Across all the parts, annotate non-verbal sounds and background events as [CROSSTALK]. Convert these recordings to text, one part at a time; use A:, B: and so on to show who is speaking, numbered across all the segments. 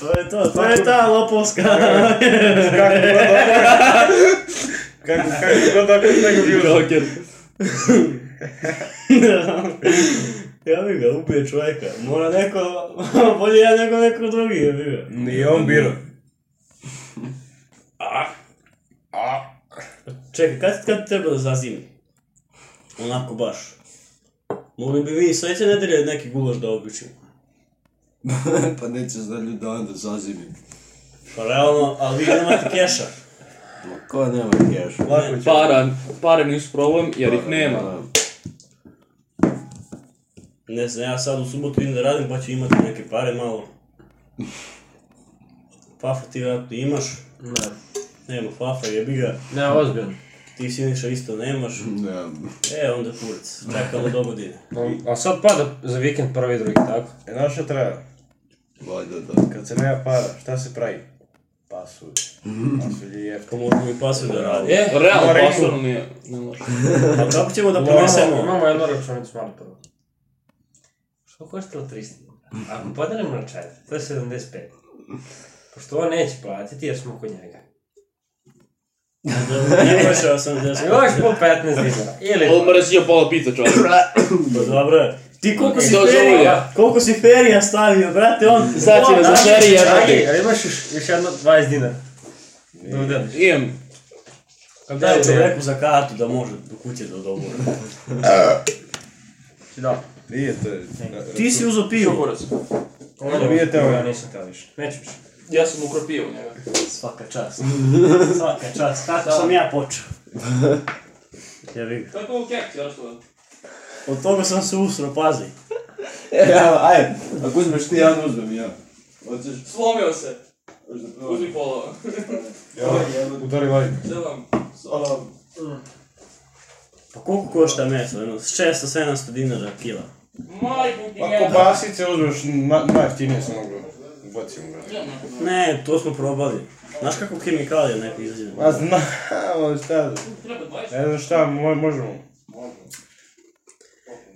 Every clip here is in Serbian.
A: Тоа е тоа, тоа е таа лоповска.
B: Како го Како како го да го бил.
A: [LAUGHS]
C: Джокер.
A: Ја ви га, убие човека. Мора [LAUGHS] некој, боли ја некој некој други, ја ви га.
B: Не он бил. А. А.
A: Чека, кад, кад треба да зазими? Онако баш. Моли би ви следите неделе неки гулаш да обичим.
C: Па неćeš pa da ljudi onda zazimi.
A: Па реално, а ви немате кеша.
C: Ma ko nema keša?
B: Лако
A: Pa,
B: ќе.
D: Para, pare nisu problem jer ih nema.
A: Не знам, јас сад у суботу идем да радим, па ќе имате неки пари мало. Фафа ти веројатно имаш,
E: Ne,
A: нема Фафа, ја бига.
E: ne, ozbiljno.
A: Ти синиша исто немаш.
C: Ne,
A: Е, онда курц, чекамо до година.
E: A sad pada za vikend prvi i drugi, tako?
B: Е наша треба.
C: valjda da.
B: Кога се нема пара, шта се прави? Пасуј. Пасуј е.
A: Па може ми пасува да ради. Е,
E: E,
D: Realno,
B: Mora
D: pastorno nije. Ne može.
A: а како ќе да
E: imamo,
A: понесемо?
E: imamo jednu računicu malo prvo. Što košta 300? Ako podelimo na 4, to je 75. Pošto ovo neće platiti jer smo kod njega.
A: Да не беше 80.
E: Još po 15 dinara. Ili...
D: Ovo mora si joj pola pizza čovjek.
A: Па добро. Ти колку си
D: Тоа за
A: ферија,
D: луѓе.
A: колку си ферија ставио, брате, он.
D: Значи,
A: он
D: за
A: наша-
D: ферија.
E: Dragi, ali imaš još, još jedno 20 dinara? Da udeliš.
F: E,
D: Imam.
A: Да, е човеку за карту да може до куќе да добори.
E: Da.
B: Вие тоа.
A: Ти си узо пиво.
D: Kurac.
E: Ono
B: vidite ovo.
E: Ja nisam teo više. Neću više.
D: Ja sam ukro pio njega.
A: Свака час. Свака час. Како сам ја почел. Ја вика.
D: Kako ovo keks, ja što?
A: Од тога сам се усро, пази.
C: E, Evo, ajde, ako uzmeš ti, ja uzmem ja. Hoćeš,
D: Slomio se.
C: hoćeš da probaš?
D: Uzmi pola.
B: Удари лај.
D: Zelam.
C: Salam.
A: Па колку кошта месо? Едно 600-700 динара кила.
D: Majku ti
B: Па
D: njega.
B: кобасице узмеш на- најефтинije се могу. Бацим го.
A: Не, тоа сме пробали. Знаеш како химикалија некој излезе?
B: А знам, [LAUGHS] ама шта?
D: Treba 20.
B: Не знам шта, мо- можемо.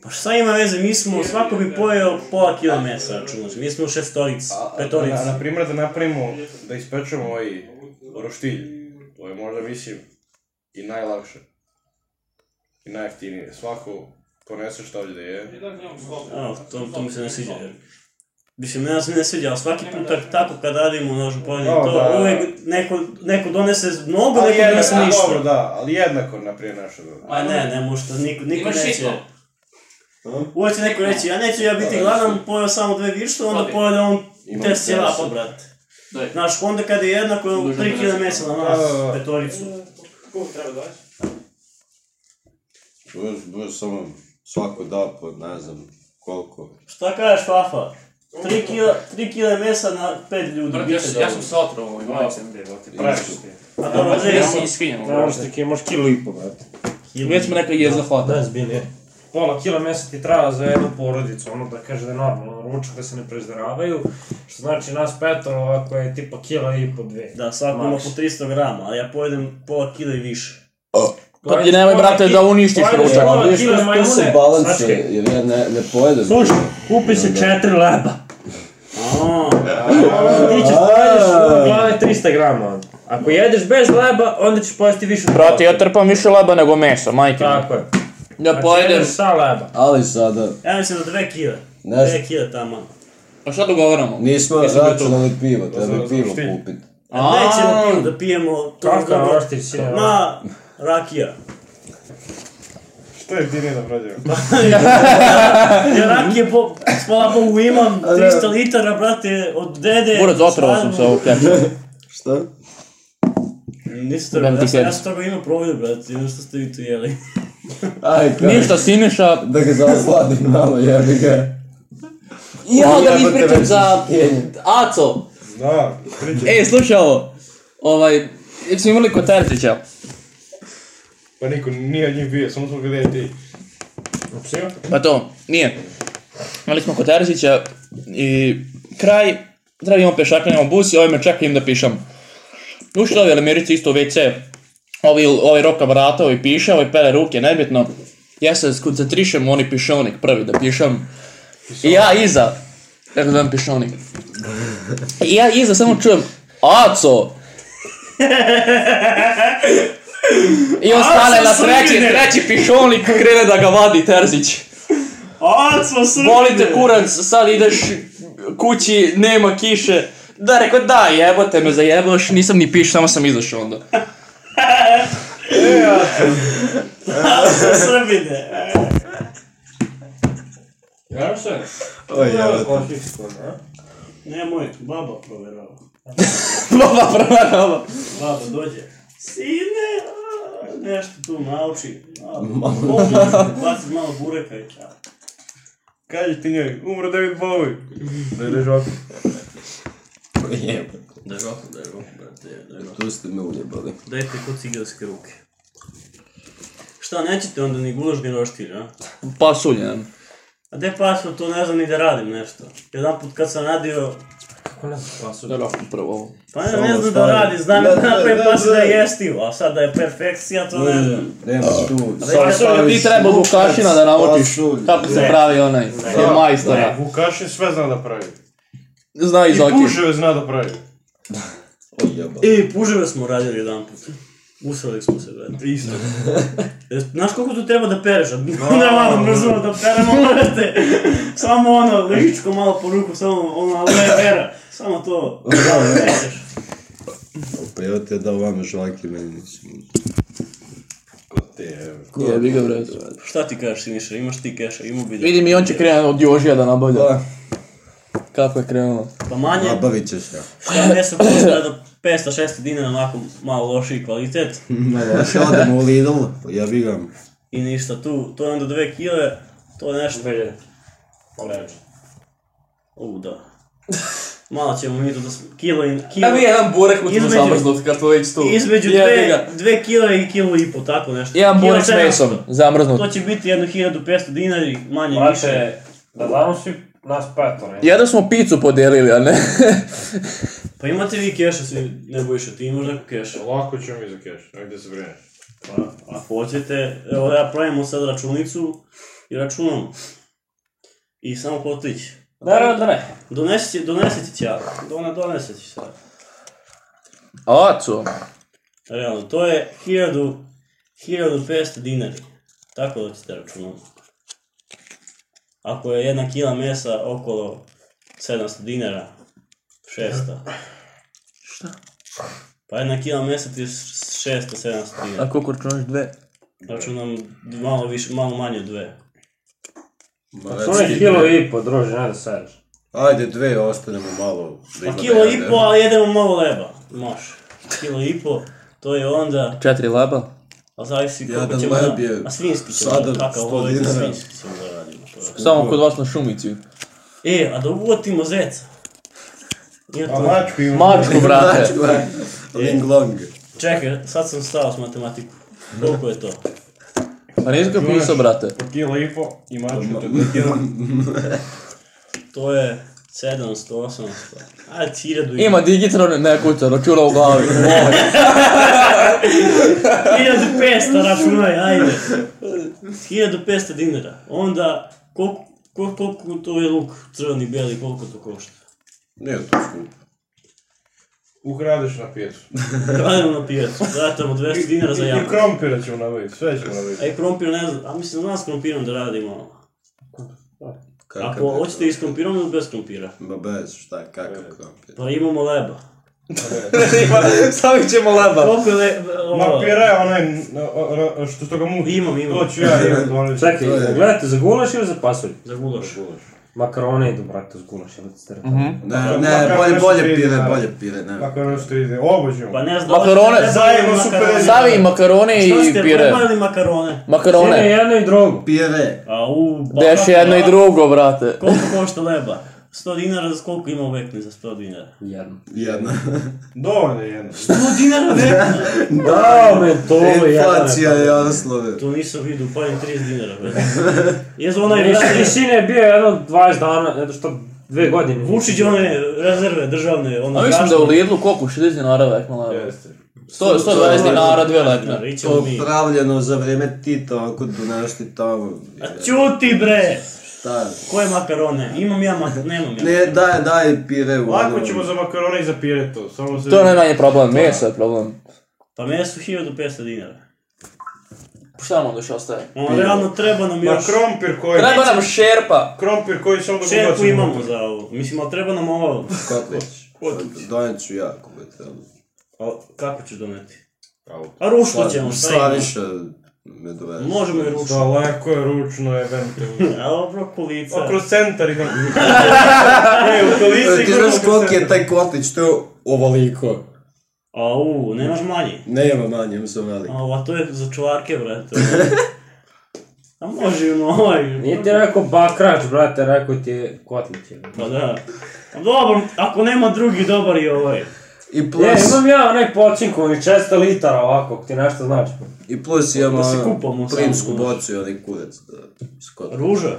A: Па што има везе, ми смо, свако би поел пола кила месо, рачунаш. Ми смо шесторица,
B: Pa, А,
A: петорица.
B: на пример да направимо да испечеме овој роштилј. Тоа е можда мислим и најлакше. И најефтинije. Свако понесе што ќе да е.
A: А, то, то ми се не свиѓа. Мислим, не нас ми не свиѓа, а сваки пута тако кога радимо наш бојни,
B: О,
A: тоа
B: да.
A: увек некој некој донесе многу,
B: Али
A: некој донесе
B: еднакво, добро,
A: ништо.
B: да, али еднако напред наше добро.
A: Па не, не може што никој никој
D: Imaš
A: не
D: šito.
A: ќе. Увек ќе некој рече, ја неќе ја бити гладен, поел само две вишта, онда
D: Оди.
A: поеде он
C: Имам
A: те села,
C: тесто.
A: брат.
D: Daj.
A: Знаеш, онда каде е еднакво 3 кила месо на нас,
B: Да, да, да.
A: петорицу.
D: Koliko treba 20?
C: Čuješ, budeš samo svako da po ne znam koliko.
A: Šta kažeš, Fafa? 3 kila, 3 kila mesa na 5 ljudi.
D: Brate,
A: bit
D: ja,
A: će
D: sam- ja
A: dovoljno.
D: sam sotro ovoj majci.
B: Правиш ти.
A: A dobro,
D: Ja,
A: gdje
D: sam ja
A: si?
D: iskinjen.
E: ti imaš kilo i po, brate.
D: Već me neka jezda hvata.
E: Da, zbilje. Pola kila mesa ti treba za jednu porodicu, ono da kaže da je normalno ručak, da se ne prezdaravaju, što znači nas petoro ovako je tipa kila i po dve.
A: Da, svako ima
E: Maks.
A: po 300 grama, ali ja pojedem pola kila i više.
D: Pa ti nemoj, brate, da uništiš ručak.
E: Pola
C: Vidiš
E: kila
C: ko, ko se
E: majmune,
C: balance,
E: sačkaj.
C: jer ja ne, ne pojedem.
E: Slušaj, kupi se četiri leba.
A: Aaaa,
E: Ti ćeš pojedeš glave 300 grama. ono. Ako jedeš bez leba, onda ćeš pojesti više od
D: Brate, ja
E: pola.
D: trpam više leba nego mesa, majke. mi.
E: Tako je.
D: Ja
E: Znači,
D: pojedem.
E: jedeš sa leba.
C: Ali sada,
A: ja mislim da dve kile.
C: Ne znam.
A: Dve kile tamo.
D: A Pa šta dogovaramo? [LAUGHS]
C: nismo
D: Jesam gotovo.
C: računali pivo,
B: Za-
C: treba
B: za
C: pivo
B: roštilj.
C: kupiti.
D: A,
A: Nećemo pivo da pijemo to
E: Kako
A: dobro.
E: roštilj si, ja?
A: Ma, rakija.
B: Што е ти не да проđе?
A: Ja rakije po, s pola Bogu [LAUGHS] imam 300 litara, brate, od dede.
D: Kurac, otrovao sam se ovog keksa.
C: Šta?
A: Niste,
D: Dam ti
A: ja, sam- ja
D: keks.
A: sam toga imao problem, brate, jedno što ste vi tu [LAUGHS] jeli.
C: Aj, kaj,
D: Ništa, Siniša.
C: da ga zasladim malo, jebi ga.
D: Ja da
C: Jebote,
D: mi ispričam
C: već
D: za...
C: iskenje.
D: Aco.
B: Да, [LAUGHS] приќе.
D: Ej, slušaj ovo. Ovaj, jer smo imali kod Terzića.
B: Па никој не од нив бие, само смо гледај ти.
E: Psiho?
D: Pa to, nije. Imali smo kod Terzića i kraj, treba imamo pešaka, imamo bus i ovaj me čeka im da pišem. Ušli ovi Elemirici isto u WC, ovi, ovaj roka vrata, ovi piše, ovi pere ruke, nebitno. Ja se skoncentrišem u onaj pišonik prvi da pišem. I ja iza, kako zovem pišonik. I ja iza samo čujem, Aco! I on stane na treći, treći pišonik krene da ga vadi Terzić.
A: Aco Srbine!
D: Boli te kurac, sad ideš kući, nema kiše. Da, rekao, da, jebote me zajebaš, nisam ni piš, samo sam izašao onda.
A: Aco Srbine!
E: Ja se.
C: Oj, jebote.
A: Nemoj, baba provjerava.
D: [LAUGHS] Baba prva roba.
A: Baba dođe. Sine, a, nešto tu nauči.
D: [LAUGHS]
A: A, Baci malo bureka i čao.
B: Kaži ti njoj, umro David Bowie. Da ideš ovako.
C: Jebote.
A: Daj roku, daj roku, brate, daj roku.
C: Tu ste me ujebali.
A: Dajte kod cigelske ruke. Šta, nećete onda ni gulaš ni roštilj, a?
D: Pasuljen.
A: A gde pasu, to ne znam ni da radim nešto. Jedan put kad sam radio,
E: Kako ne znam pasu?
D: Da, rokom prvo ovo.
A: pa ne,
C: Samo
A: ne znam da
C: stari.
A: radim, znam
C: Da,
A: da,
C: da,
A: napravim
C: da,
A: pasu
C: da.
A: da je jestiv, a sad da je perfekcija, to
F: Да,
A: ne znam.
C: Nema tu.
A: Pasulj,
C: Staviš
D: Ti treba
C: lukac,
D: Vukašina da naučiš
C: pasulj.
D: kako se
A: Ne.
D: pravi onaj, jer majstora.
B: E, Vukašin sve zna da pravi.
D: Zna
B: I
D: iz oki.
B: puževe zna da pravi.
C: Oj, jebote.
A: I puževe smo radili jedan put. Usrali smo se, brate. [LAUGHS]
B: Isto.
A: E, Znaš koliko tu treba da pereš? [LAUGHS] Ne malo mrzimo da peremo, morate. Samo ono, ležičko malo po ruku, samo ono, ali ne pera. Samo to, da pereš.
C: Pa ja te da vama žvaki meni nisu.
B: Ko te je?
D: Jebi ga brez.
A: Šta ti kažeš, Siniša, imaš ti keša, imao bi da...
D: Vidim i on će krenuti od Jožija da nabavlja.
C: Da.
D: Kako je krenulo?
A: Pa manje,
C: Nabavit ćeš ja.
A: šta ne pa su košta do 500-600 dinara, onako malo lošiji kvalitet.
C: Ne, ja se odem u Lidl, ja bi ga.
A: I ništa tu, to je onda 2 kile, to je nešto...
E: Dve. Oleđe.
A: U, da. Malo ćemo mi to da... sm- Kilo i... Kilo...
D: Ja mi jedan burek u tu
A: Između-
D: zamrznut kad smo već tu.
A: Između
D: Jebi
A: dve,
D: ga.
A: dve kile i kilo i po, tako nešto.
D: Jedan
A: Kilo
D: burek s
A: 700.
D: mesom, zamrznut.
A: To će biti jedno 1500 dinari, manje više.
E: Mate, da znamo svi nas ono, petora.
D: Ja da smo picu podijelili, a ne?
A: Pa imate vi keša, svi ne bojiš ti imaš neko keša.
B: Lako ćemo mi za keš, ajde se brineš.
A: Pa, ako hoćete, evo ja pravimo sad računicu i računam. I samo potić.
E: Naravno da ne.
A: Donesi će, donesi će ja. Dona, donesi će sad.
D: Aco.
A: Realno, to je 1000, 1500 dinari. Tako da ćete računati. Ako je jedna kila mesa okolo 700 dinara, 600. Šta? Pa jedna kila mesa ti je 600-700 dinara.
D: A koliko računaš dve?
A: Računam malo, više, malo manje od dve.
E: To je ono kilo i po, druže, ne Znači, da sereš.
C: Ajde, dve, ostanemo malo. da ima
A: Pa
F: Ono
C: da
A: kilo i
C: jede.
A: po, ali jedemo malo leba. Može. Kilo i po, to je onda...
D: Četiri laba.
A: A zavisi koliko
C: Jadan
A: ćemo
C: leb
A: da-
C: je
A: A svinjski ćemo
C: sada
A: da kakav
C: 100
A: ovo je
C: dinara.
A: svinjski ćemo da radimo. to je.
D: Samo kod vas na šumici.
A: E, a da uvotimo zeca. Nije to-
B: Pa mačku ima.
D: Mačku,
C: Znači,
D: brate.
C: ovaj, Ling long.
A: Čekaj, sad sam stao s matematiku. Koliko je to?
D: Pa nisi ga pisao, brate.
B: Po kilo i po i mačku te tekila.
A: To je 700, 800. Ajde, hiljadu i...
D: Ima digitron, ne kuća, računa u glavi.
A: Hiljadu 500 računaj, ajde. 1500 dinara. Onda, koliko, koliko, koliko to je luk crveni, bijeli, koliko to košta?
B: Nije to skupo. Ukradeš na pijecu.
A: Radimo na pijacu, vratamo 200 dinara za
B: I
A: jamu.
B: krompira ćemo nabaviti, sve ćemo nabaviti.
A: Ej, krompir ne znam, a mislim, znam s krompirom da radimo. ono.
C: Kakav
A: Ako
C: je-
A: hoćete i s krompirom ili bez krompira?
C: Ma bez, šta, kakav krompir.
A: Pa imamo leba.
D: Stavit ćemo laba.
A: Koliko je le...
B: Ma
A: ovo-
B: pira je onaj, na- o- o- što toga muhi.
A: Imam, imam.
B: To ću ja, imam doneti.
E: Čekaj, gledate za gulaš ili za pasulj?
A: Za gulaš.
E: Makarone idu, brate, uz gulaš, jel ti ste rekao?
C: Ne,
B: Kako
C: ne, bolje,
B: nešto
C: bolje
B: ide,
C: pire,
B: da.
C: bolje pire, ne.
B: Ako nešto ono ide, obo ćemo.
A: Pa ne znam...
D: Makarone,
B: zajedno su pedeset.
D: Stavi i makarone
A: Što
D: i
A: ste
D: pire.
A: probali makarone?
E: Ne,
D: Makarone.
E: jedno i drugo.
C: Pire.
A: A u... pa
D: Deš
A: kako,
D: jedno
A: a?
D: i drugo, brate.
A: Koliko košta leba? 100 dinara, za koliko ima vekni za 100 dinara?
E: Jedno.
C: Jedna.
B: Dovoljno je jedno.
A: 100 dinara vekni?
E: Da, me to je
C: Inflacija je Jaroslave.
A: To nisam vidio, palim 30 dinara [LAUGHS] vekni. Jez onaj
E: Mislim,
A: vrati...
E: Visine je bio jedno 20 dana, eto što, dve godine.
A: Vučić one rezerve državne, ono
D: A mislim da
A: zračne.
D: u Lidlu koliko? 60 dinara vekna laba.
B: Jeste.
D: 100, 120 dinara, dve lepne.
A: Ići ćemo
C: To
A: mi.
C: pravljeno za vrijeme Tita, ako donašti tamo.
A: A Ćuti bre!
F: Da.
A: Koje makarone? Imam ja makarone, nemam ja.
F: Ne, daj, daj pire u ono,
B: Lako ćemo za makarone i za pireto, samo se...
D: To je najmanji problem, meso je problem.
A: Pa mene su 1500 dinara.
D: Pa Šta nam onda još ostaje?
A: Ono, realno treba nam
B: Ma
A: još...
B: krompir koji...
D: Treba nam [LAUGHS] šerpa!
B: Krompir koji samo da ga
A: Šerpu
B: ubacimo
A: imamo
B: unutra.
A: za ovo. Mislim, ali treba nam ovo.
F: Kotlić. Donijet ću ja, ako je trebalo.
A: A kako ćeš doneti?
B: Auto.
A: A ruško ćemo, šta ima?
F: Slaviša me dovede.
A: Možemo i ruško.
B: Daleko je ručno je
A: [LAUGHS]
B: vente.
A: A dobro, kolica.
B: Pa kroz centar idem. ne, u kolici
F: E, Ti znaš koliki je taj kotlić, to je ovoliko.
A: Au, nemaš manji.
F: Nema manje, on sam velik.
A: A, a to je za čuvarke, [LAUGHS] brate. A može i ono ovaj.
E: Nije ti rekao bakrač, brate, rekao ti je kotlić. je.
A: Pa da. A Dobro, ako nema drugi, dobar je ovaj.
F: I plus,
E: E, imam ja onaj počinkovi 400 litara ovako, ako ti nešto znači.
F: i plus imam
A: Da se
F: ono,
A: kupamo samo,
F: plinsku
A: znaš.
F: bocu i onaj kurac da s kotlom.
A: Ruža.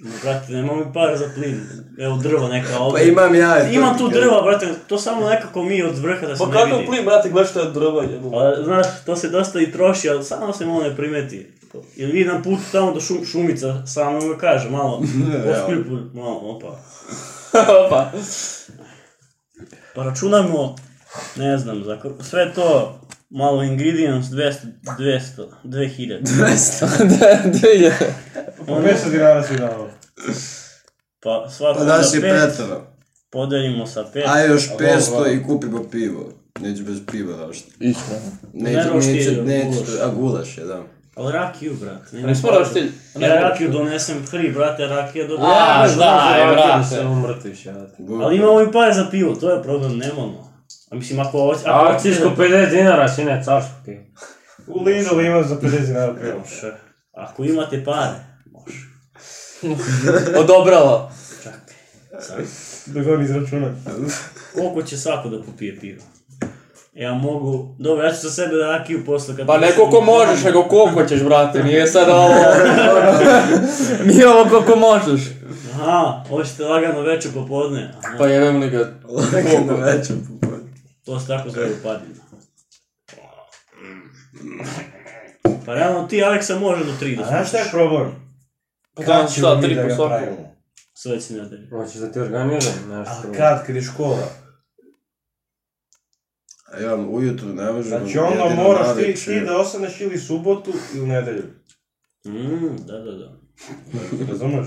A: Ma, Brate, nema mi para za plin. Evo drva neka
F: Pa
A: ovdje.
F: imam ja. i
A: Ima
F: to
A: tu
F: ti kažem.
A: drva, brate, to samo nekako mi od vrha da se ne vidi.
D: brate, gledaš što je drva jedno.
A: Pa, znaš, to se dosta i troši, ali samo se malo ne primeti. Jer vi na putu tamo do šum, šumica, samo ga kaže, malo, poskrpu, malo, opa.
D: Opa.
A: Pa računamo, ne znam, za ko- sve to, malo ingredients, 200, 200, 2000.
D: Da, da je.
B: Po 500 dinara si dao.
A: Pa svako
F: Pa daš
A: za
F: i
A: pet,
F: petara.
A: podelimo sa pet.
F: Aj još 500 i kupimo pivo. Neću bez piva rašta.
D: Iskreno.
F: Neću,
A: roštilj,
F: neću, neću,
A: gulaš.
F: a gulaš je, da.
A: Ali rakiju, brat. Ne
D: Ne smo roštilj.
A: Ja rakiju donesem free, brate, rakija do...
D: A,
E: Znači,
D: da,
E: brate, da se
D: brate.
E: umrtviš, ja.
A: Ali imamo i pare za pivo, to je problem, nemamo. A mislim, ako ovo...
E: A akcijsko 50 dinara, sine, carsko pivo.
B: U Lidl ima za 50 dinara pivo.
A: Može. Ako imate pare, može.
D: Odobralo.
B: Dok on izračuna.
A: Koliko će svako da popije pivo? Ja mogu... Dobro, ja ću sa sebe da rakiju posle kad...
D: Pa ne koliko možeš, nego koliko ćeš, brate. Nije sad [LAUGHS] ovo... Nije ovo koliko možeš.
A: Aha, hoćete lagano večer popodne. Aha,
D: Pa jebem li ga.
F: Lagano večer popod.
A: to se tako zove upadina. Pa realno ti, Aleksa, može do 3 da
B: A znaš šta je
A: slušaš.
B: problem?
D: Pa da, šta, tri po soku.
A: Sve si na tebi.
E: Hoćeš da ti organizam nešto?
B: A kad, kad je škola?
F: A ja vam ujutru ne možemo...
B: Znači onda
F: jedino
B: moraš ti,
F: navečer.
B: ti da ostaneš ili subotu ili nedelju.
A: Mm, da, da, da.
B: Razumeš?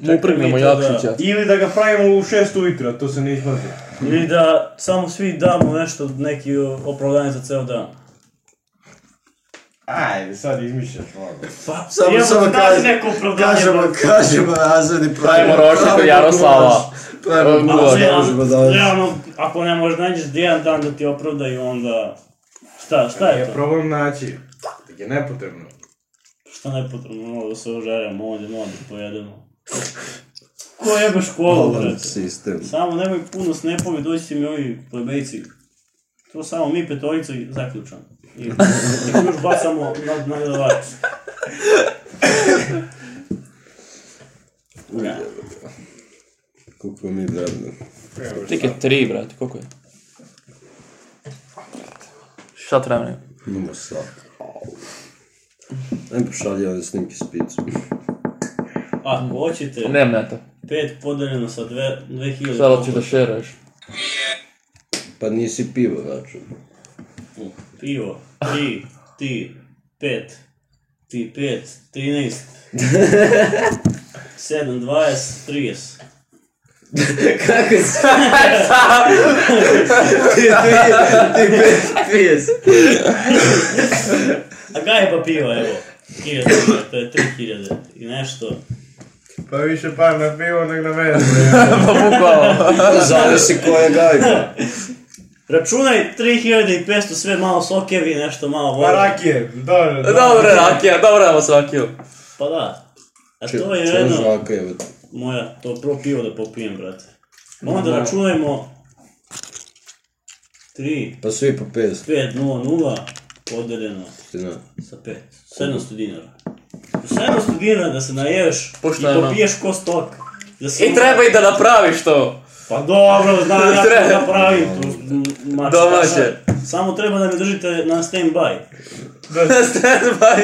D: Mu prignemo
A: mi to da-
D: Jakšića.
B: Ili da ga pravimo u 6 ujutro, a to se ne isplati.
A: Ili da samo svi damo nešto, neki o, opravdanje za ceo dan.
B: Ajde, sad izmišljaš malo.
A: Pa,
F: Samo-
A: jebote,
F: samo
A: nađi
F: kaži-
A: neko opravdanje.
F: Kažemo,
A: brate.
F: kažemo razredni
D: Pravimo roštilj kod Jaroslava.
F: Pravimo
A: Pa,
D: Ovo,
F: gulaš, ne
A: realno-
F: možemo da...
A: Realno, ako ne možeš nađeš jedan dan da ti opravdaju, onda... Šta, šta je
B: Je
A: to?
B: problem naći. Je nepotrebno.
A: Šta ne potrebno, ovo da se ožarjamo, ovdje malo da
F: [LAUGHS]
A: pojedemo. Ko jebe školu, brate?
F: Sistem.
A: Samo nemoj puno snepovi, dođite mi ovi plebejci. To samo mi petorica i zaključan. I i još bacamo na, na gledavač.
F: Koliko mi drevno.
D: Tik je tri, brate, koliko je? Šta treba ne?
F: Imamo sad. Ajme pošalji ove snimke s picom.
A: Ako hoćete,
D: Nemam neta.
A: 5 podeljeno sa dve- 2000...
D: Sada hoćeš da šeruješ. [LAUGHS]
F: Pa nisi pivo znači. račun.
A: Pivo, 3, ti, 5, ti 5,
F: [LAUGHS]
A: 13, 7, 20, 30.
F: Kako si? [LAUGHS] ti, ti, ti, pijes.
A: A gajba piva, evo, 1000, to je 3000 i nešto.
B: Pa više par na pivo nego na mene.
D: Pa bukvalo.
F: Zavisi koja je gajba.
A: Računaj 3500, sve malo sokevi, nešto malo
B: Pa
A: vode.
B: rakije, dobro.
D: Dobra rakija, dobra ovo svakiju.
A: Pa da. A to je
F: Čemu
A: jedno
F: žvaka je? već?
A: moja, to prvo pivo da popijem, brate. Onda računajmo 3,
F: Pa svi po 500,
A: 5, 0, 0, podeljeno
F: ti ne.
A: Sa pet. 700 dinara. 700 dinara da se naješ
D: Pošteno.
A: i popiješ ko stok. Da se
D: I no. treba i da napraviš to.
A: Pa
D: [LAUGHS]
A: dobro, znam ja
D: Treba. No.
A: to napravim. Tu, m, ma,
D: Domaće.
A: šta, Samo
D: [LAUGHS]
A: treba da me držite na stand by.
D: Stand by.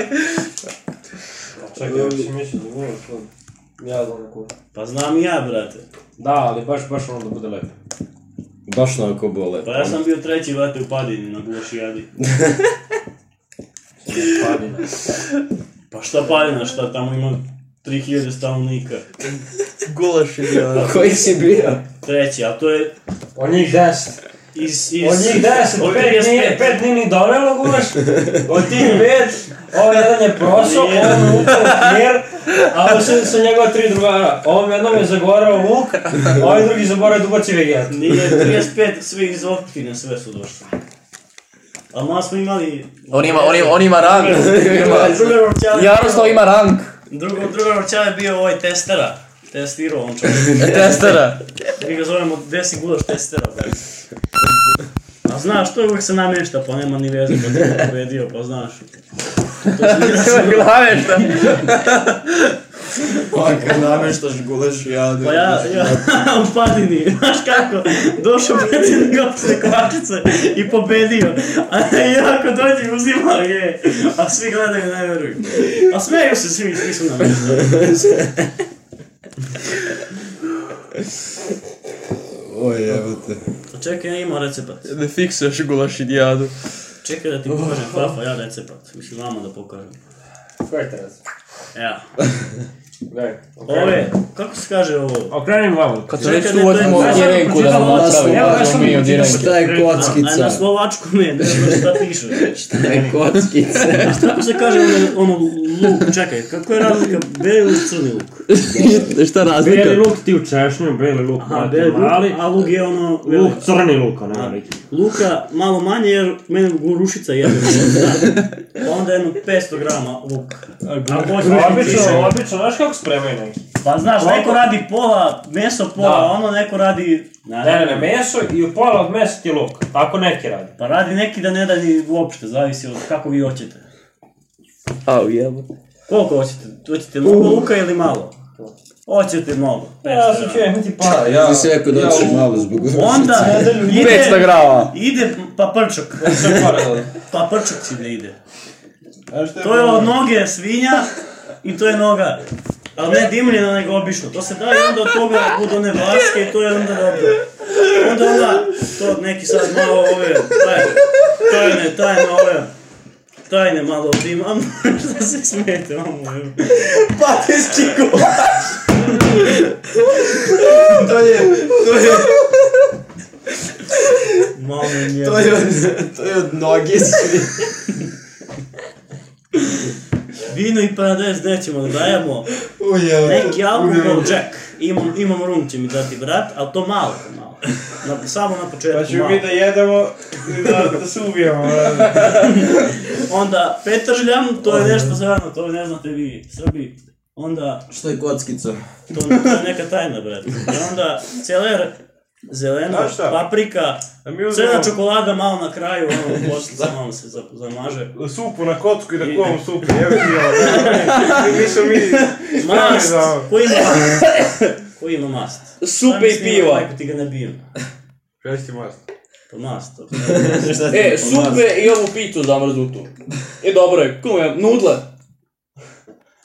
E: Čekaj, ako si misli da voliš to, ja znam neku.
A: Pa znam i ja, brate.
E: Da, ali baš, baš ono da bude lepo.
F: Baš na oko bole.
A: Pa ja sam bio treći, brate, u padini na Gušijadi.
E: Padina.
A: Pa šta padina, šta tamo ima 3000 stanovnika.
D: Gulaš je bio.
F: [LAUGHS] Koji si bio?
A: Treći, a to je
E: [LAUGHS] Od njih deset.
A: iz... iz
E: Od njih deset,
A: od
E: pet
A: 35.
E: nije, pet nije ni donelo gulaš. Od tih [LAUGHS] pet, ovaj jedan je prosao, ovaj je lupao kjer, a ovo su, su njegova tri drugara. Ovom jednom je zagorao luk, ovaj drugi zaboravio da ubaci vegetu.
A: Nije 35 svi iz optine, sve su došli. A malo smo imali...
D: On ima, on ima, on ima [LAUGHS] rang. Ima-
A: Druga Rovčara je
D: Jaroslav
A: bio-
D: ima rang.
A: Drugo, druga Rovčara je bio ovaj testera. Testirao on čovjek.
D: Testera.
A: Mi ga zovemo Desi Gudoš testera, brate. A znaš, to je uvijek se namješta, pa nema ni veze kad je pobedio, pa znaš.
D: Glave šta?
F: Pa kad nameštaš guleš jade.
A: Pa ja, ja, [LAUGHS] u padini, znaš kako, došao predsjednik općine Kovačice i pobedio. A ja ako dođem uzima je, a svi gledaju i ne vjeruju. A smeju se svi, svi su namještani.
F: Oj, evo te.
A: Pa Čekaj, ja imam recept.
D: Ne fiksaš gulaš i dijadu.
A: Čekaj da ti pokažem, Fafa, ja recept. Mislim, vama da pokažem.
E: Ko je teraz?
A: Evo.
E: Gledaj.
A: Ovo je, kako se kaže ovo?
E: Okrenim glavu.
D: Kad
A: Čekaj,
D: već
A: ne,
D: uvodimo
A: to je-
D: Jerenku da nam
A: Evo,
D: napravi,
E: evo, ja sam
D: mi od
E: vidio
D: Jerenke.
F: Šta je
A: A na
F: kockica?
A: slovačku ne, ne znam šta piše.
F: [LAUGHS] Šta je kockica?
A: A kako se kaže ono, ono luk, čekaj, kako je razlika beli ili crni luk?
D: [LAUGHS] Šta
E: Beli luk ti u češnju, beli luk
A: Aha,
E: mati
A: beli luk,
E: mali,
A: a luk je ono
E: luk
A: veliki.
E: crni luk, ono
A: A,
E: veliki.
A: Luka malo manje jer mene gurušica
E: [LAUGHS]
A: jede. Pa onda jedno 500 grama luka. A poslije
E: Obično, obično, znaš kako spremaju neki?
A: Pa znaš, neko radi pola, meso pola,
E: Da.
A: ono neko radi...
E: Ne, ne, ne, meso i u pola od mesa ti je luk, tako neki radi.
A: Pa radi neki da ne da ni uopšte, zavisi od kako vi hoćete.
D: Au jebo.
A: Koliko hoćete? Hoćete mnogo luka ili malo? Hoćete mnogo.
E: Ja sam čujem ti pa, ja...
F: Ti si rekao da ćeš malo zbog
A: Onda ide,
D: 500 grava.
A: ide pa paprčok.
E: [LAUGHS] Sve pare dole.
A: Paprčok si da ide.
C: Znaš šta je
A: [LAUGHS] To je
C: problem?
A: od noge svinja i to je noga. Ali ne dimljena, nego obično. To se da i onda od toga budu one varske i to je onda dobro. Onda onda, to neki sad malo ove, taj, tajne, tajne ove. Tajne malo primam, [LAUGHS] šta se smete, mamo, evo.
F: Pateski gulaš!
A: [LAUGHS]
F: To je, to je,
A: Malo njega.
F: [LAUGHS] to je od, to je od noge svi.
A: Vino i paradajz nećemo da dajemo.
F: Oj, evo te.
A: Neki alkohol Jack. Imam, imam rum će mi dati brat, ali to malo, malo. Na, samo na
C: Pa
A: početku
C: ćemo
A: malo.
C: mi da jedemo i da, da se ubijamo. brate.
A: Onda petržljam, to je nešto zrano, to ne znate vi, Srbi. Onda,
F: Što je kockica?
A: to, to je neka tajna, brat. I onda, celer, zeleno,
C: Znaš šta?
A: paprika,
C: Da mi uzmemo
A: crna čokolada malo na kraju, ono, poslica malo se za- zamaže.
C: supu na kocku i da kuvam supu. Evo ti ovo. Mi smo mi...
A: Mast,
C: da.
A: ko ima
C: [LAUGHS]
A: mast? Ko ima mast?
D: Supe
A: Šta mi
D: i
A: snima,
D: piva.
F: ovaj
D: E,
A: Majko, ti ga ne bijem.
C: Šta si ti mast?
A: Pa mast, to.
D: E, supe i ovu pitu zamrznutu. E, dobro je, kume, nudle.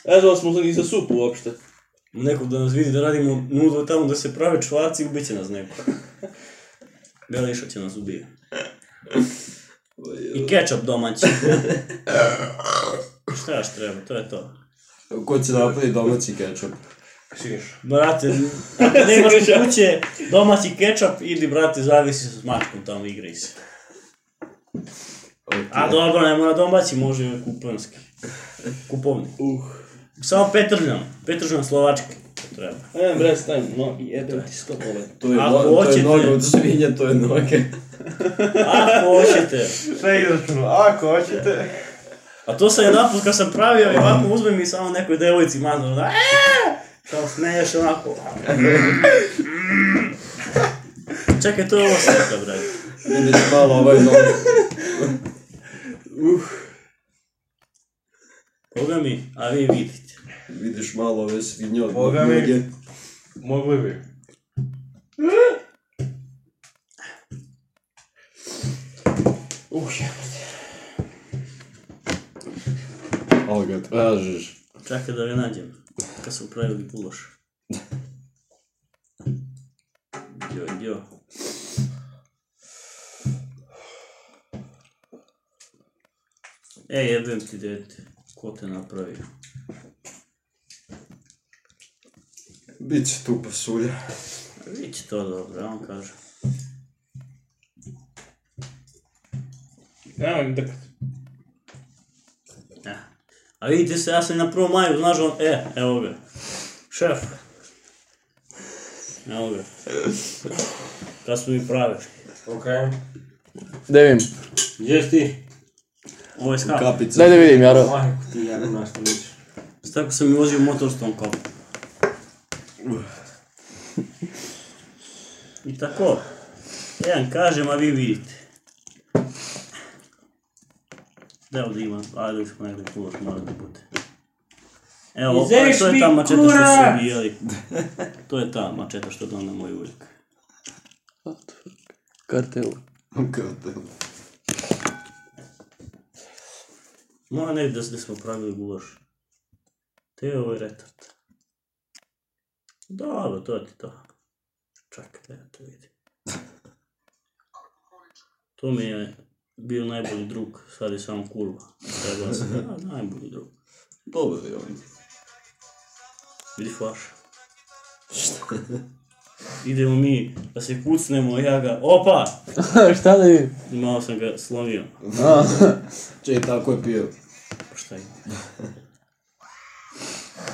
D: E, Ne znam smo ni za supu uopšte.
A: Neko da nas vidi da radimo nudlo tamo da se prave čvaci, ubit će nas neko. Beliša će nas ubije. I kečap domaći. Šta još treba, to je to.
F: Ko će napravi domaći kečap?
B: Siniš.
A: Brate, ako ne imaš kod kuće domaći kečap, idi brate, zavisi se s mačkom tamo igraj se. A dobro, ne mora domaći, može i kuponski. Kupovni. Uh. Samo Petržan, Petržan slovački. Treba.
D: E, bre, stajem, no, jebe ti sto bole.
F: To je,
A: Ako
F: no, to je
A: hoćete.
F: noga od svinja, to je noge.
A: Ako hoćete.
C: Sve izračuno. Ako hoćete...
A: A to sam jedan put kad sam pravio i ovako uzmem i samo nekoj devojci mazno da Kao no, smeješ onako. Čekaj, to je vlastne ovo sveta, brate.
F: Ideš malo ovaj noge.
A: Koga mi, a vi vidite.
F: Vidiš malo ove svinje od
C: Boga mi.
F: noge.
B: Mogli bi.
F: Ali ga tražiš.
A: Čekaj da ga nađem. Kad smo pravili guloš. Gdje, je, gdje? je? E, jebem ti dete. Ko te napravi?
F: Biće tu pasulja.
A: Vidite to dobro, on kaže.
D: Nemoj mi drkat.
A: E. A vidite se, ja sam i na prvom maju, znaš on, e, evo ga. Šef. Evo ga. Kad smo mi prave.
E: Ok.
D: Da vidim.
E: Gdje si ti?
A: Ovo je skap.
F: Kapica. [LAUGHS]
D: Daj da vidim, Jaro.
E: Majko ti jebim na što liči.
A: Tako sam i vozio motor s tom kopom. I tako. Jedan kažem, a vi vidite. Da ovdje ima, ajde smo negdje kurac, mora da bude. Evo, opa,
E: Izeš
A: to je
E: mi
A: ta mačeta što
E: kurac!
A: su bijeli. To je ta mačeta što dona moj uvijek.
D: Kartel.
F: Kartel.
A: Mora negdje da smo pravili gulaš. Te je ovaj retard. Dobro, to ti to. Čak, da ja to vidim. To mi je bio najbolji drug, sad je samo kurva. Treba sam, a, najbolji drug.
F: Dobro je on.
A: Vidi flaš. Idemo mi, da se kucnemo, ja ga, opa!
D: [LAUGHS] Šta da vidim?
A: I malo sam ga slomio.
F: Čekaj, tako je pio.
A: Pa šta je?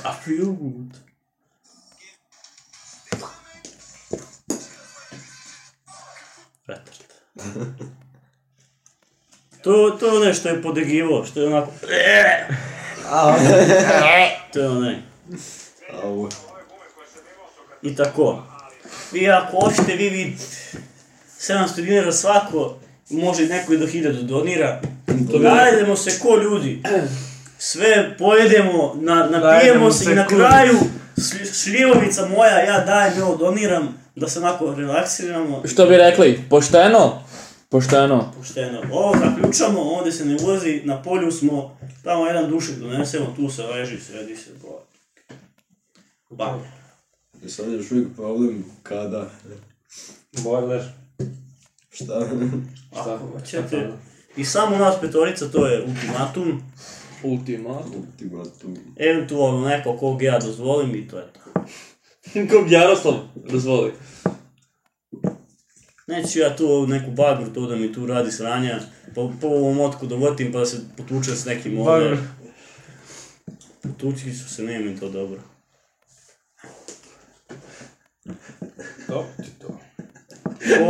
A: A feel good. Retard. To, to je onaj što je podegivo, što je onako... [LAUGHS] to je onaj.
F: A ovo.
A: I tako. Vi ako hoćete, vi vidite. 700 dinara svako, može neko i do 1000 donira. Najedemo se ko ljudi. Sve pojedemo, na, napijemo
E: Najedemo
A: se
E: se
A: i na
E: ko
A: kraju šlj- šljivovica moja, ja dajem, evo doniram, da se onako relaksiramo.
D: Što bi rekli? Pošteno? Pošteno.
A: Pošteno. Ovo zaključamo, ovdje se ne vozi, na polju smo, tamo jedan dušik donesemo, tu se veži, sredi se. bo. Bam.
F: I E, sad još uvijek problem kada. [LAUGHS]
E: Bojler.
F: Šta?
A: Ako hoćete. I samo nas petorica, to je ultimatum.
D: Ultimatum.
F: Ti tu.
A: Eventualno neko kog ja dozvolim i to je to.
D: Kog Jaroslav dozvoli.
A: Neću ja tu neku bagru to da mi tu radi sranja, pa po ovom otku dovotim pa da se potučem s nekim ovdje.
E: Bagru.
A: Potučili su se, nije mi to dobro.
B: Dobro ti to.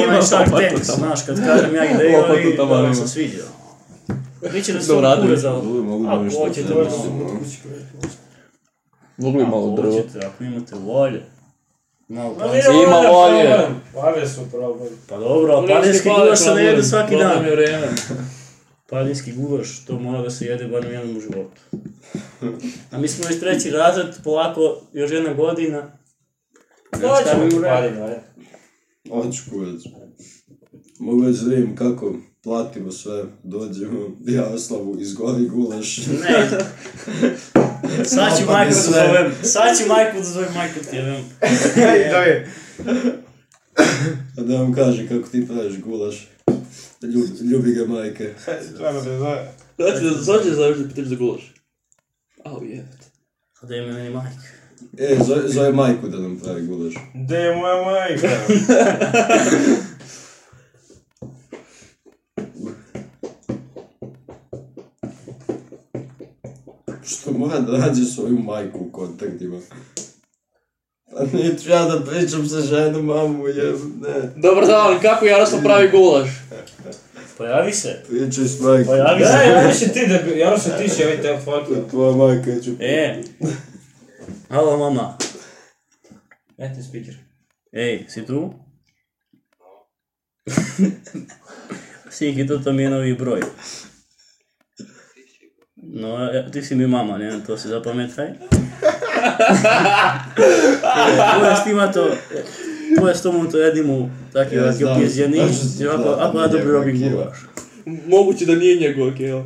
A: Onaj šak
D: lopatu
A: tekst, znaš, kad kažem ja ideju,
D: Lopatu
A: ali to
D: tamo
A: vam
D: ima.
A: se sviđa. Biće da se
D: Dobro,
A: on
D: Adrian.
A: kure za
F: Dobro, mogu da
A: Ako
F: nešto
A: hoćete,
F: ne
A: ono,
F: mislim,
D: Mogu bi malo
A: ako
D: drvo.
A: hoćete, ako imate volje. Malo pa.
D: Ima volje.
E: Pare su problem.
A: Pa dobro, a padinski gulaš se ne jede svaki dan.
D: Problem je vrijeme.
A: Padinski gulaš, to mora da se jede barem jednom u životu. A mi smo već treći razred, polako, još jedna godina.
E: Šta
A: ćemo
E: ćemo
A: mu
E: ti
A: reći?
E: parim, ajde.
F: Hoću kurac. Mogu već da vidim kako platimo sve, dođemo, Jaroslavu izgori gulaš.
A: Ne. Sad ću
F: Napadne
A: majku da
F: sve.
A: zovem. Sad ću majku da zovem, majku ti jebem.
F: A da vam kaže kako ti praviš gulaš. Ljubi, ljubi ga majke.
D: Znači, sad će završiti pitanje za gulaš. Au jebate.
A: A da je meni majka.
F: E, zove, zove majku da nam pravi gulaš.
B: Gde je moja majka?
F: Što mora da nađe svoju majku u kontaktima. Pa neću ja da pričam sa ženom, mamu, jeb, ne.
D: Dobar dan, kako Jaroslav pravi gulaš?
A: Pojavi se.
F: Pričaj s majkom.
A: Pojavi
E: Da,
A: se.
E: ja više ti da... Ja se ti će ovaj te fuck.
F: Tvoja majka ću...
A: E. Alo mama.
E: Metni speaker.
A: Ej, si [LAUGHS] tu? Siki, to, to mi je novi broj. No, ja- ti si mi mama, ne, to si zapametaj. Pojaz tima to, pojaz tomu to jedimu, tako
F: Ja
A: da je
F: znam,
A: opjezjeni,
F: tačno sam
A: ako,
F: znao,
A: ako ja dobro
F: njegova
A: robim
F: keva.
A: gulaš.
D: Moguće da nije njegov, okej, evo.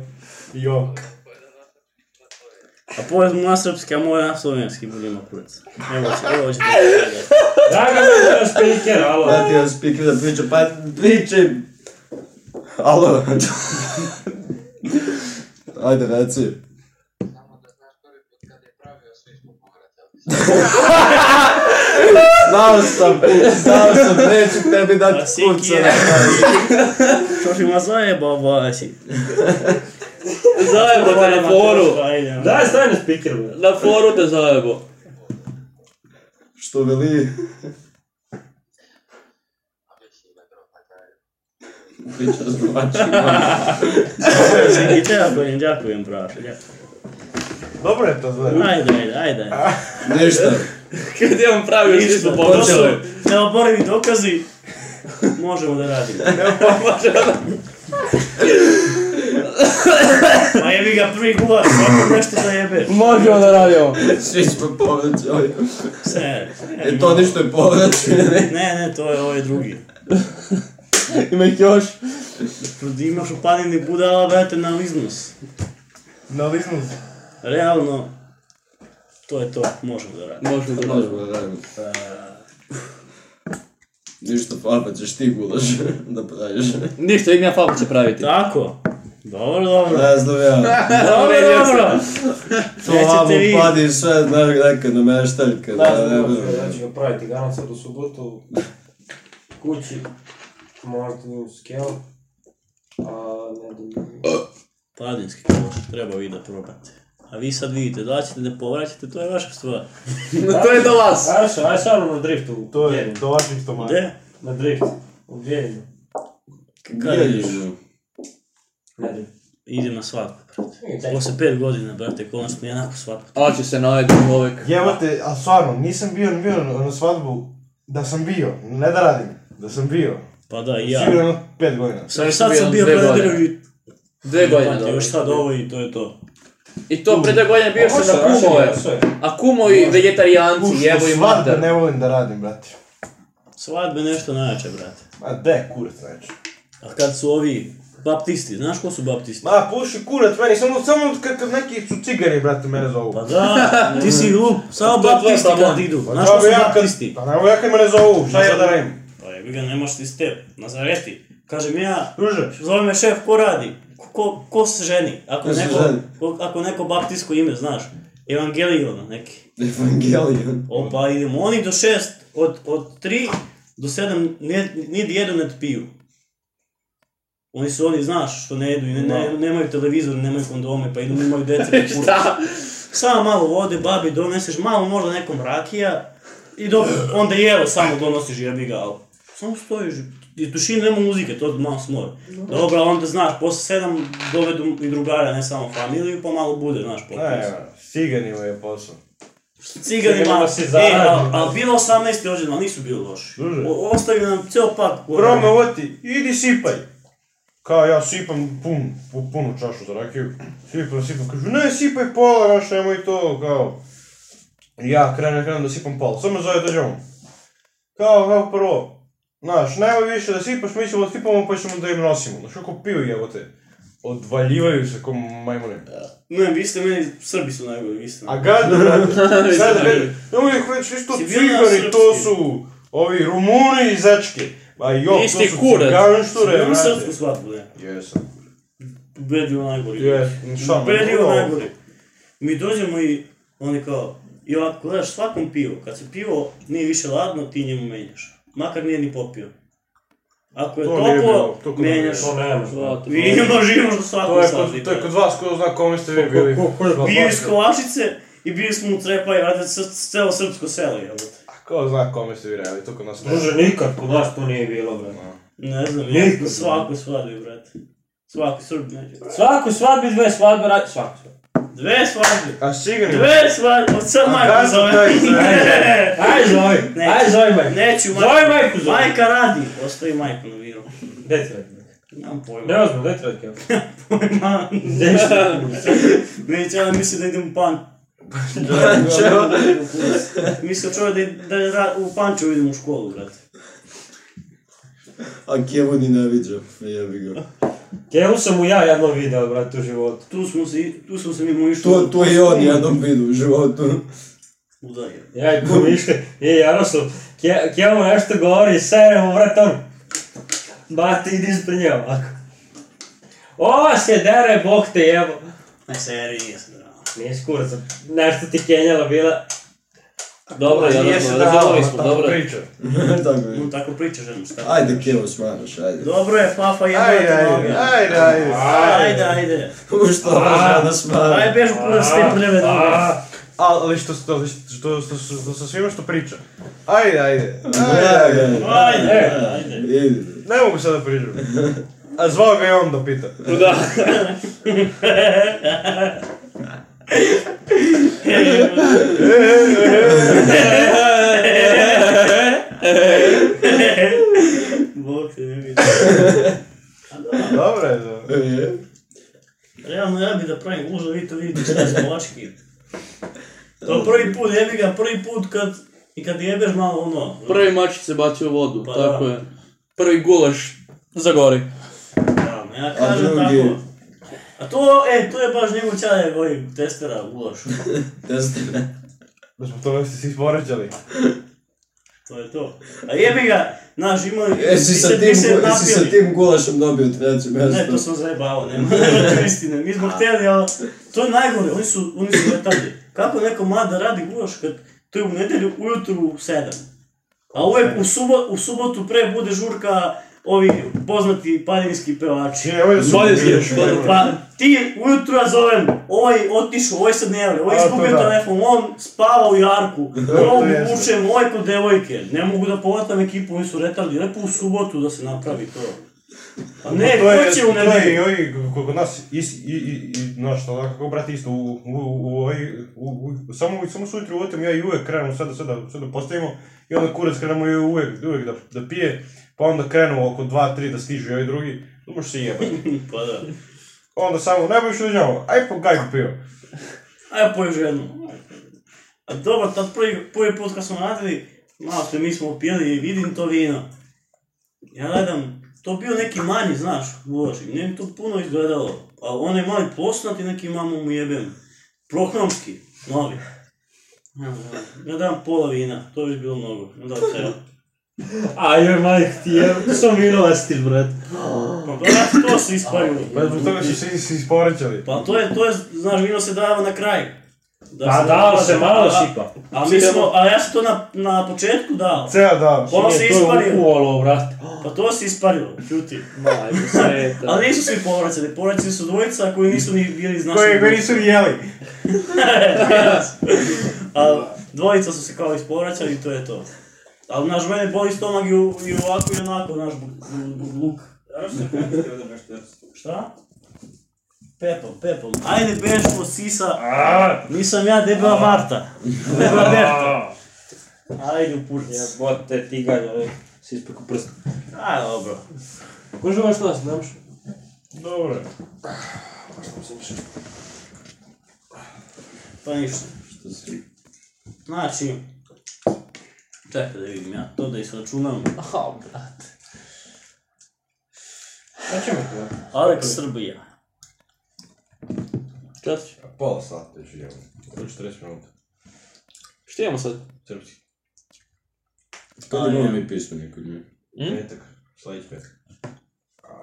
E: Jo.
A: A pored moja srpski, a moja slovenski boli ima kurac. Evo će, evo će.
E: Draga me da speaker, alo.
F: Ja ti jaz spiker da pričam, pa pričaj. Alo. Ajde, reci. Znao sam, znao sam, neću tebi
A: A
F: dati
A: si
F: kurca.
A: kje? [LAUGHS] Što si ima zajebao, vasi.
D: Zajebo te na foru.
E: Daj, stani speaker, bre.
D: Na foru te zajebo.
F: Što veli? Priča s drugačima.
A: I te ja govorim, ďakujem, brašo, ďakujem.
G: Dobro je to zove.
A: Ajde, ajde, ajde.
F: Ništa.
D: Kad je on pravio, svi smo
A: To su
D: počeli.
A: neoborivi dokazi. Možemo da radimo. Ma jebi ga prvi gular, svako nešto da jebe.
D: Možemo da radimo.
F: Svi smo povraćali.
A: Sve.
F: E to ništa je povraćanje.
A: Ne, ne, to je ovaj drugi.
D: Ima ih još.
A: Imaš upadini budala, brate, na iznos.
G: Na liznus.
A: Realno, to je to, možemo da radimo.
D: Možemo da radimo.
F: Možemo da radimo. E, Ništa, papa ćeš ti gulaš [LAUGHS] da praviš.
D: Ništa, Ignja Fabul će praviti.
A: Tako. Dobro, dobro.
F: Ne znam [LAUGHS] ja.
A: Dobro, dobro.
F: To
A: Nećete
F: vamo
A: vi.
F: padi sve, ne neka nameštaljka.
E: Da, Znači,
F: Da, ne
E: znam,
F: znam.
E: ja ću ga praviti danas sad u subotu kući, možda ni u skel, a ne znam.
A: Padinski kloš, treba vi da probate. A vi sad vidite, da li ćete da povraćate, to je vaša stvar.
D: [LAUGHS] To je do vas.
E: Ajde, ajde samo ono na driftu, u
G: To je
E: Bijeljinu.
G: dolazi što manje.
A: Gde?
E: Na drift, u Bijeljinu.
A: Kada
F: Gdje
A: ideš?
F: idemo?
E: Ne znam.
A: Idem na svadbu, brate.
E: Daj.
A: Posle pet godina, brate, konačno je onako svadba.
D: Ali će se najeti uvek.
B: Jebo te, a stvarno, nisam bio, bio na, na svadbu, da sam bio, ne da radim, da sam bio.
A: Pa da, i ja.
B: Sigurno jedno pet godina.
A: Sam sad
D: Bio
A: sam bio
D: dve
A: predelio i
D: Dve godine
A: Pati,
D: dobro.
A: još sad ovo i to je to.
D: I to pre dve godine bio sam na kumove. A kumovi vegetarijanci,
B: Ušto
D: jevo i
B: svadbe
D: mater.
B: ne volim da radim, brate.
A: Svadbe nešto najjače, brate.
B: A de, kurac znači.
A: A kad su ovi baptisti, znaš ko su baptisti?
B: Ma, puši kurac meni, samo, samo kakav neki su cigani, brate, mene zovu.
A: Pa da, ti si glup, samo
D: To je
A: baptisti
D: tvoja
A: kad
D: taman.
A: idu.
B: Pa
A: Znaš
B: da,
A: ko su
B: ja kad-
A: baptisti?
B: Pa nemo ja kad mene zovu, šta ja da radim?
A: Pa jebi ga, nemaš ti step, Nazareti. Kažem ja,
B: Druže,
A: zove me šef, ko radi? Ko, ko, ko se ženi? Ako,
F: Ko se
A: neko,
F: ženi?
A: ko- ako neko baptistko ime, znaš. Evangelion neki.
F: Evangelion.
A: Opa, idemo oni do šest, od, od tri do sedam ne- niti jedu, ne piju. Oni su oni, znaš, što ne jedu i ne, ne, nemaju televizor, nemaju kondome, pa idu, nemaju dece.
D: Šta?
A: Samo malo vode, babi doneseš, malo možda nekom rakija i dobro, onda jelo samo donosiš jebi ga, ali samo stojiš i tušin nema muzike, to malo smor. Dobro, a onda znaš, posle sedam dovedu i drugara, ne samo familiju, pa malo bude, znaš, popis.
G: Ne, ciganima je posao.
A: Ciganima,
E: Ciganima si
A: e,
E: zaradio.
A: ali al bilo 18 rođena, ali nisu bili loši.
B: Druže.
A: O, ostavio nam ceo pak.
B: Rome, ovo ti, idi sipaj. Kao ja sipam pun, pu- punu čašu za rakiju, sipam, sipam, kažu ne sipaj pola, znaš, nemoj to, kao. Ja krenem, krenem da sipam pola, samo zove dođemo. Kao, kao prvo, znaš, nemoj više da sipaš, mi ćemo da sipamo pa ćemo da im nosimo, znaš, kako piju jevo te. Odvaljivaju se ko majmune.
A: Ne, vi ste meni, Srbi su najbolji, vi ste.
B: A
A: [LAUGHS]
B: gadno, brate, sad gledaj, nemoj ih reći, isto
A: Si bio na
B: cigari, to
A: srpski?
B: su ovi Rumuni i Zečke. Ma jo, to su
D: Isti kurac.
B: ciganšture,
A: Imamo
B: brate.
A: srpsku svadbu, ne.
G: Jesam.
A: Ubedljivo najgori.
B: Jes, šta,
A: Ubedljivo
B: dobro.
A: najgori. Mi dođemo i oni kao, i ovako gledaš svakom pivo, kad se pivo nije više ladno, ti njemu menjaš. Makar nije ni popio. Ako je
B: To nije bilo,
A: toplo,
B: to kod
A: menjaš.
E: To nema.
A: Vi imaš, imaš u
B: To
A: svakom
B: je, kod,
A: svadbi.
B: to je kod vas, ko zna kome ste vi bili.
A: Bio iz Kovačice i bili smo u Trepa i radili s- s- celo srpsko selo, jel?
G: Ko zna kome ste vi radili, to kod nas ne.
E: Druže, nikad kod nas to nije bilo, bre.
A: Ne znam,
E: Niko
A: ja
E: zna.
A: svaku svadbi, brate. Svaku srbi neće.
E: Svaku svadbi, dve svadbe, radi svaku svadbu.
A: Dve svadbe!
B: A sigurno?
A: Dve svadbe! Od sad majku
B: Gazda
A: zove.
B: taj,
A: [LAUGHS] Ne,
E: Ajde, zovi.
A: Ne.
E: Ajde, zovi, majku.
A: Neću majku.
E: Zove majku, zove.
A: Majka radi. Ostavi majku na viru.
E: Gde ti radi?
A: Nemam pojma.
E: Ne ozmo, gde ti radi, kevo?
A: Pojma.
E: Gde ti radi?
A: Neće, ja mislim da idem u pan.
F: Čeo?
A: Mislim čovjek da, id- da ra- u panču idem u školu, brate. [LAUGHS]
F: A Kevo ni ne viđa. Jebi ga.
E: Kelu sam mu ja jednom video, brate, u životu.
A: Tu smo se, i- tu smo se mi mu išli.
F: To, to i on jednom vidu u životu. [LAUGHS]
A: Udario.
E: Ja i kum išli, i Jaroslav, Ke- Kelu nešto govori, sere mu, brate, on, ba, ti idi ispred nje ovako. Ova se dere, bog te jebo.
A: Ne, seri, jesam drama.
E: Nije kurac, nešto ti kenjala bila.
D: Dobro,
A: A, nije
D: ja
A: se
D: smo,
A: dalo,
D: razumeli smo,
A: tako
D: dobro.
F: Tako je.
A: No, tako pričaš jednom šta.
F: Ajde, Kilo, smaraš, ajde.
A: Dobro je, Fafa, jebate
H: Ajde, ajde,
A: noge.
H: ajde, ajde.
A: Ajde, ajde.
F: [LAUGHS] U što možda da smaraš?
A: Ajde, bežu kurac s te prljave noge.
H: A, ali što, što, što, što, što, sa svima što priča. Ajde, ajde.
F: Ajde, ajde.
A: Ajde, ajde.
F: Idi.
H: Ne mogu sad da pričam. A zvao ga je on da pita.
D: Da.
H: E,
A: Bog te ne vidi.
H: Dobro je to.
F: E,
A: Realno ja bi da pravim gužu, vi to vidite šta smo lački. To prvi put, jebi ga, prvi put kad, i kad jebeš malo ono.
D: Prvi mačić se bacio u vodu,
A: Pa
D: tako
A: da.
D: je. Prvi gulaš zagori.
A: Realno, ja kažem
F: drugi?
A: tako. A to, e, to je baš njemu čaje ovim testera gulaš.
F: Testira.
H: Da smo to već svi poređali.
A: To je to. A jebi ga, znaš, ima...
F: Jesi sa tim, jesi sa tim gulašem dobio treće mjesto?
A: Ne, to sam zajebao,
H: [LAUGHS]
A: nema nema istine. Mi smo htjeli, ali to je najgore, oni su, oni su letalji. Kako neko mlada radi gulaš kad to je u nedelju ujutru u 7. A uvek u, subo, u subotu pre bude žurka ovi poznati paljinski pevači.
H: Čini, nemoj da su...
D: Bolje zješ, bolje.
A: Pa ti ujutru ja zovem, ovaj otišao, ovaj sad ne javlja, ovaj
H: A, to
A: izgubio
H: da.
A: telefon, on spava u jarku, ovog
H: jeste.
A: učem, ovaj kod devojke, ne mogu da povatam ekipu, oni su retardi, lepo u subotu da se napravi to. A ne,
H: Pa To je-
A: ko će u
H: To je
A: nedelju?
H: i ovi, ko- kod nas, is, i, i, i, znaš, to onako, kako brate, isto, u, u, u, u, u, u, samo, samo sujutru uvotim, ja i uvek krenemo sada, sada, sada postavimo, i onda kurac krenemo i uvek, uvek da, da pije, pa onda krenu oko 2-3 da stižu i ovi drugi, tu možeš se jebati.
A: Pa da.
H: Onda samo, ne bojiš uđamo, aj po gajku pivo.
A: Aj po još jednu. A dobro, tad prvi, prvi put kad smo radili, malo se mi smo opijali i vidim to vino. Ja gledam, to bio neki manji, znaš, uloži, ne mi to puno izgledalo. A onaj mali plosnati neki mamu mu jebem. Prohnomski, novi. Ja gledam, Ja dam pola vina, to bi bilo mnogo. Ja dam ceo.
E: Aj, joj, majk ti je, to sam vinova stil, brate.
A: Pa brate, to se isparilo.
H: Pa zbog toga su svi se isporećali.
A: Pa to je, to je, znaš, vino se dava na kraju.
E: Pa da, ali se malo
A: A-
E: sipa.
A: A mi smo, a ja sam to na, na početku dao.
H: Ceo dan.
B: pa-
A: Ono se
E: Je, to je
A: isparilo.
E: ukuvalo, brate.
A: Pa to se isparilo, čuti.
D: Majko sveta.
A: Ali nisu svi povraćali, povraćali su dvojica koji nisu ni bili iz našeg
H: Koji
A: društva.
H: koji nisu ni jeli.
A: A dvojica su se kao ispovraćali i to je to. Ali, znaš, mene boli stomak i, u- i ovako i onako, znaš, luk. Šta? Pepom, pepom. Ajde, beš po sisa. Nisam ja debela Marta. Debela Berta. Ajde, upušti.
E: Jebote, ti ganja, ej. Si ispeku prst.
A: Aj, dobro.
E: Kuži ovo što nas, nemaš?
H: Dobro. je.
A: Pa ništa. Znači... Čekaj da vidim ja to, da isračunam.
D: Aha, brate.
A: Arek Srbija.
D: Šta ćeš?
B: Pola sata još idemo. Ili 40 minuta.
D: Šta imamo sad?
B: Srpski.
F: Kad imamo mi pismo neko nje?
B: Petak. Sljedeći petak.
E: Pa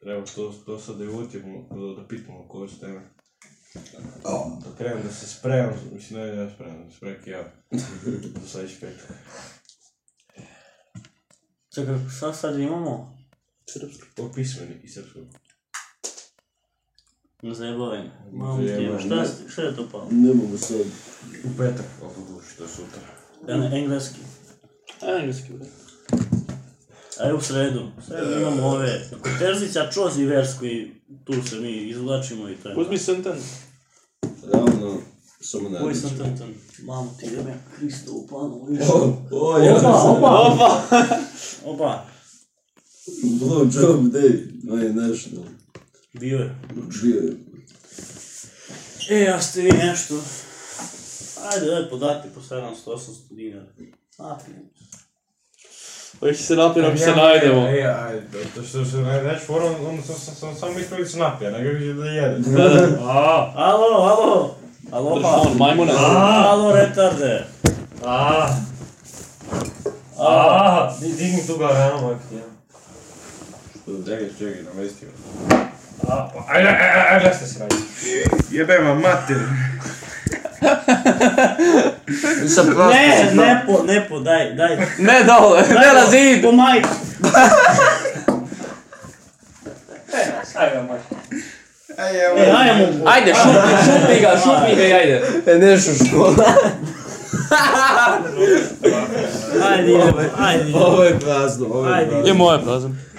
B: Treba to, to sad da uvotimo, da, da pitamo koje su teme. Da krenem da se spremam, mislim ne da ja spremam, da se spremam ja. Za sljedeći petak.
A: Čekaj, šta sad imamo?
B: O pismeni i srpskog.
A: Ne zajebavaj me. Mamu ti ima, šta, ste- šta je to pa? pao?
F: Ne mogu sad.
B: U petak, ako duši, to je sutra.
A: Ja ne, engleski.
D: Engleski, brate.
A: A evo u sredu. U sredu imamo ove. Terzića, Čoz i Versku i tu se mi izvlačimo i to je.
D: Uzmi sentan.
F: Ravno, samo ne.
A: Koji sam tam tam? Mamu ti jebe, Kristo u planu.
F: O, o, ja sam.
D: Opa!
A: Opa,
F: Blow job day, my national.
A: bio je.
F: ono, Bio je.
A: E, a ste vi nešto? Ajde, daj podati po 700-800 dinara. Napijem.
D: Hoće se napijemo, hoće se
B: Ja,
D: najdemo.
B: E, ajde, to što se najveći forum, onda sam, sam, sam, sam mislio da se napija, nego vidim da jede.
E: A,
A: Alo, alo. Alo,
D: Drži
A: pa.
D: on, majmune.
A: Alo, retarde.
E: a, a, di- digni tu garanu, majke ti, ja.
I: Čekaj, čekaj, namesti me.
E: A, ajde, ajde, ajde, ajde, se radi.
I: Jebema mater.
F: Sa prosto,
A: Ne,
F: sa
A: ne po, ne po, daj, daj.
D: Ne dole, ne na zid.
A: Po majku.
E: Ajde, majke.
A: E, daj mu.
D: Ajde, šupi, šupi ga, šupi ga i ajde.
F: E, nešto škola.
A: Ajde, idemo, ajde. idemo.
F: Ovo je prazno, ovo je
A: Ajde.
F: prazno.
D: I moje prazan.